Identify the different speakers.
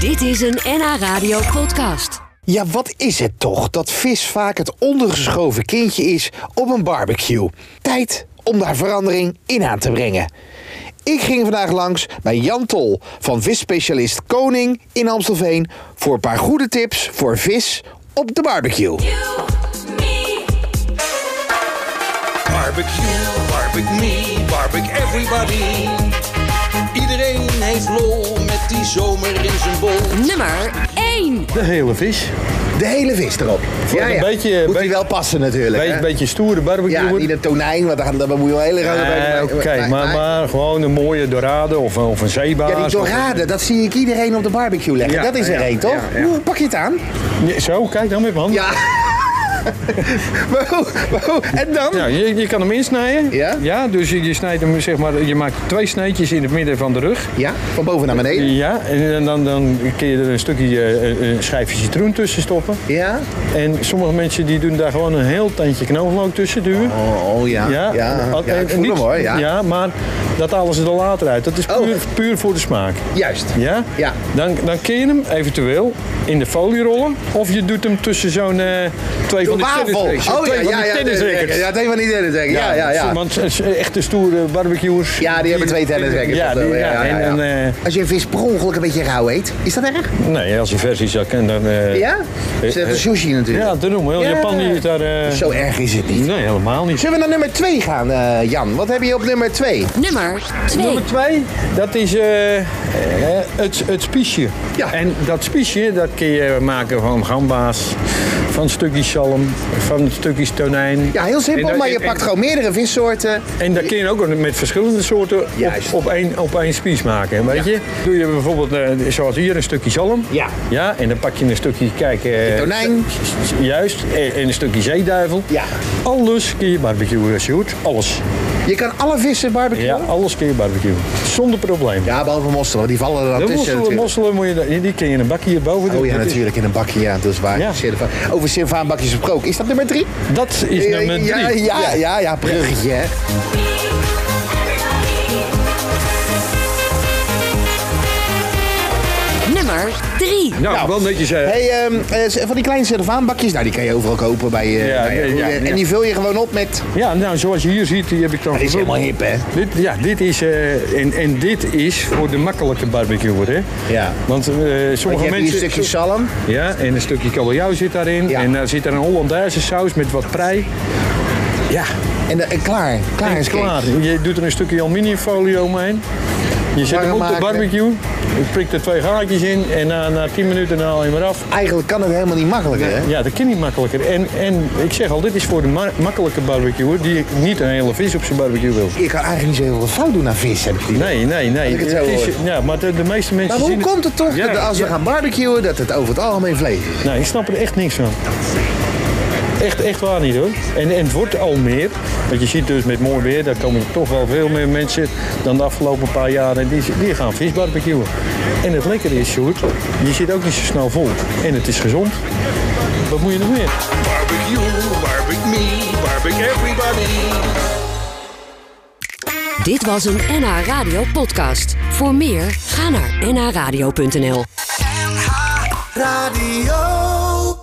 Speaker 1: Dit is een NH Radio podcast.
Speaker 2: Ja, wat is het toch dat vis vaak het ondergeschoven kindje is op een barbecue? Tijd om daar verandering in aan te brengen. Ik ging vandaag langs bij Jan Tol van visspecialist Koning in Amstelveen voor een paar goede tips voor vis op de barbecue.
Speaker 3: Barbecue, barbecue me, barbecue everybody. Iedereen heeft lol met die zomer in zijn bol.
Speaker 1: Nummer 1.
Speaker 4: De hele vis.
Speaker 2: De hele vis erop. Ja,
Speaker 4: een
Speaker 2: ja.
Speaker 4: beetje-
Speaker 2: moet die
Speaker 4: beetje-
Speaker 2: wel passen natuurlijk.
Speaker 4: Beetje,
Speaker 2: hè?
Speaker 4: beetje stoere barbecue.
Speaker 2: ja,
Speaker 4: worden.
Speaker 2: niet een tonijn, want dan, dan moet je wel hele rare
Speaker 4: Eh, Oké, maar, maar gewoon een mooie dorade of, een- of een zeebaars.
Speaker 2: Ja, die dorade, dat zie ik iedereen op de barbecue leggen.
Speaker 4: Ja,
Speaker 2: dat is er
Speaker 4: ja,
Speaker 2: één, toch?
Speaker 4: ja, ja.
Speaker 2: Hoe pak je het aan?
Speaker 4: Ja, Zo, kijk dan met man.
Speaker 2: Ja. maar hoe, maar hoe- en dan?
Speaker 4: Ja, je, je kan hem insnijden.
Speaker 2: Ja?
Speaker 4: ja dus je, je snijdt hem, zeg maar, je maakt twee sneetjes in het midden van de rug.
Speaker 2: Ja, van boven naar beneden.
Speaker 4: Ja, en dan, dan kun je er een stukje eh, een schijfje citroen tussen stoppen.
Speaker 2: Ja.
Speaker 4: En sommige mensen die doen daar gewoon een heel tandje knoflook tussen duwen.
Speaker 2: Oh, oh, ja. Ja, ja,
Speaker 4: al-
Speaker 2: ik
Speaker 4: en
Speaker 2: voel
Speaker 4: niet-
Speaker 2: hem hoor. Ja.
Speaker 4: maar dat halen ze er later uit. Dat is
Speaker 2: Oh.
Speaker 4: puur, puur voor de smaak.
Speaker 2: Juist.
Speaker 4: Ja?
Speaker 2: Ja.
Speaker 4: Dan, dan kun je hem eventueel in de folie rollen. Of je doet hem tussen zo'n eh, twee van
Speaker 2: Een
Speaker 4: de
Speaker 2: wafel.
Speaker 4: tennisrackets.
Speaker 2: Oh ja,
Speaker 4: Twee van
Speaker 2: ja,
Speaker 4: die
Speaker 2: ja.
Speaker 4: tennisrackets.
Speaker 2: Ja, twee van die tennisrackets. Ja, ja, ja.
Speaker 4: Want eh, echte stoere barbecuers.
Speaker 2: Ja, die hebben twee tennisrackets.
Speaker 4: Ja,
Speaker 2: of zo.
Speaker 4: die- ja,
Speaker 2: ja, ja.
Speaker 4: en- en, eh,
Speaker 2: Als je een vis per ongeluk een beetje rauw eet, is dat erg?
Speaker 4: Nee, als je vers is, dan... kan- dan eh,
Speaker 2: Ja?
Speaker 4: eh,
Speaker 2: Ze hebben sushi natuurlijk.
Speaker 4: Ja, te doen. Heel
Speaker 2: Ja.
Speaker 4: Japan die is daar... eh,
Speaker 2: Zo erg is het niet.
Speaker 4: Nee, helemaal niet.
Speaker 2: Zullen we naar nummer 2 gaan, eh, Jan? Wat heb je op nummer 2?
Speaker 1: Nummer 2.
Speaker 4: Nummer twee, dat is eh, eh, het, het spiesje.
Speaker 2: Ja.
Speaker 4: En dat spiesje, dat kun je maken van gamba's, van stukjes zalm, van stukjes tonijn.
Speaker 2: Ja, heel simpel,
Speaker 4: En dan-
Speaker 2: maar je
Speaker 4: en-
Speaker 2: pakt gewoon meerdere vissoorten.
Speaker 4: En dat kun je ook met verschillende soorten op-
Speaker 2: Juist.
Speaker 4: op, één, op één spies maken, weet je. Doe je bijvoorbeeld, eh, zoals hier, een stukje zalm.
Speaker 2: Ja.
Speaker 4: Ja, en dan pak je een stukje, kijk... eh,
Speaker 2: Tonijn.
Speaker 4: Juist, en, en een stukje zeeduivel.
Speaker 2: Ja.
Speaker 4: Alles kun je barbecuen, Sjoerd. Alles.
Speaker 2: Je kan alle vissen barbecuen.
Speaker 4: Ja, alles kun je barbecuen. Zonder probleem.
Speaker 2: Ja, behalve mosselen, want die vallen er dan
Speaker 4: De
Speaker 2: tussen
Speaker 4: mosselen,
Speaker 2: natuurlijk.
Speaker 4: mosselen moet je, da- die kun je in een bakje hierboven doen.
Speaker 2: Oh ja,
Speaker 4: Dat is-
Speaker 2: natuurlijk in een bakje, ja, dat is waar.
Speaker 4: Ja.
Speaker 2: Silva- Over Sylvaanbakjes gesproken, is dat nummer drie? Eh,
Speaker 4: Dat is nummer drie. Eh.
Speaker 2: Ja, ja, ja, ja, ja, bruggetje. hè.
Speaker 1: Nummer 3.
Speaker 4: Nou,
Speaker 2: Nou.
Speaker 4: wel netjes. eh,
Speaker 2: Hey, ehm, eh, z- van die kleine Sylvaanbakjes, nou die kan je overal kopen bij... eh,
Speaker 4: Ja,
Speaker 2: bij-
Speaker 4: ja, ja,
Speaker 2: en
Speaker 4: ja.
Speaker 2: die vul je gewoon op met...
Speaker 4: Ja, nou, zoals je hier ziet, die heb ik dan
Speaker 2: Dat is
Speaker 4: gevuld.
Speaker 2: helemaal hip, hè?
Speaker 4: Dit, ja, dit is, eh, en, en dit is voor de makkelijke barbecuer, hè?
Speaker 2: Ja.
Speaker 4: Want eh,
Speaker 2: Want je
Speaker 4: sommige
Speaker 2: hebt hier een
Speaker 4: mensen...
Speaker 2: stukje zalm.
Speaker 4: Ja, en een stukje kabeljauw zit daarin.
Speaker 2: Ja.
Speaker 4: En daar zit er een Hollandaise saus met wat prei. Ja,
Speaker 2: En, eh, en klaar, klaar
Speaker 4: en
Speaker 2: is Kees.
Speaker 4: klaar. Je doet er een stukje aluminiumfolie omheen. Je zet
Speaker 2: Warm
Speaker 4: hem op de
Speaker 2: maken.
Speaker 4: barbecue. Je prikt er twee gaatjes in. En na, na 10 minuten haal je hem eraf.
Speaker 2: Eigenlijk kan het helemaal niet makkelijker, hè?
Speaker 4: Ja, dat kan niet makkelijker. En, en ik zeg al, dit is voor de ma- makkelijke barbecuer die niet een hele vis op zijn barbecue wil.
Speaker 2: Je kan eigenlijk niet zo heel veel fout doen aan vis, heb ik die.
Speaker 4: Nee, nee, nee.
Speaker 2: ik het zo
Speaker 4: is-
Speaker 2: hoor.
Speaker 4: ja, maar de, de meeste mensen
Speaker 2: Maar hoe
Speaker 4: zien het-
Speaker 2: komt het toch
Speaker 4: Ja,
Speaker 2: dat als we
Speaker 4: ja.
Speaker 2: gaan barbecuen, dat het over het algemeen vlees is?
Speaker 4: Nou, ik snap er echt niks van. Echt, echt waar niet hoor. En, en het wordt al meer. Want je ziet dus met mooi weer, daar komen er toch wel veel meer mensen dan de afgelopen paar jaar. En die, die gaan vis barbecuen. En het lekkere is, Sjoerd, je zit ook niet zo snel vol. En het is gezond. Wat moet je nog meer?
Speaker 3: Barbecue, barbecue me, barbecue everybody.
Speaker 1: Dit was een NH Radio podcast. Voor meer, ga naar nhradio.nl.
Speaker 5: Radio.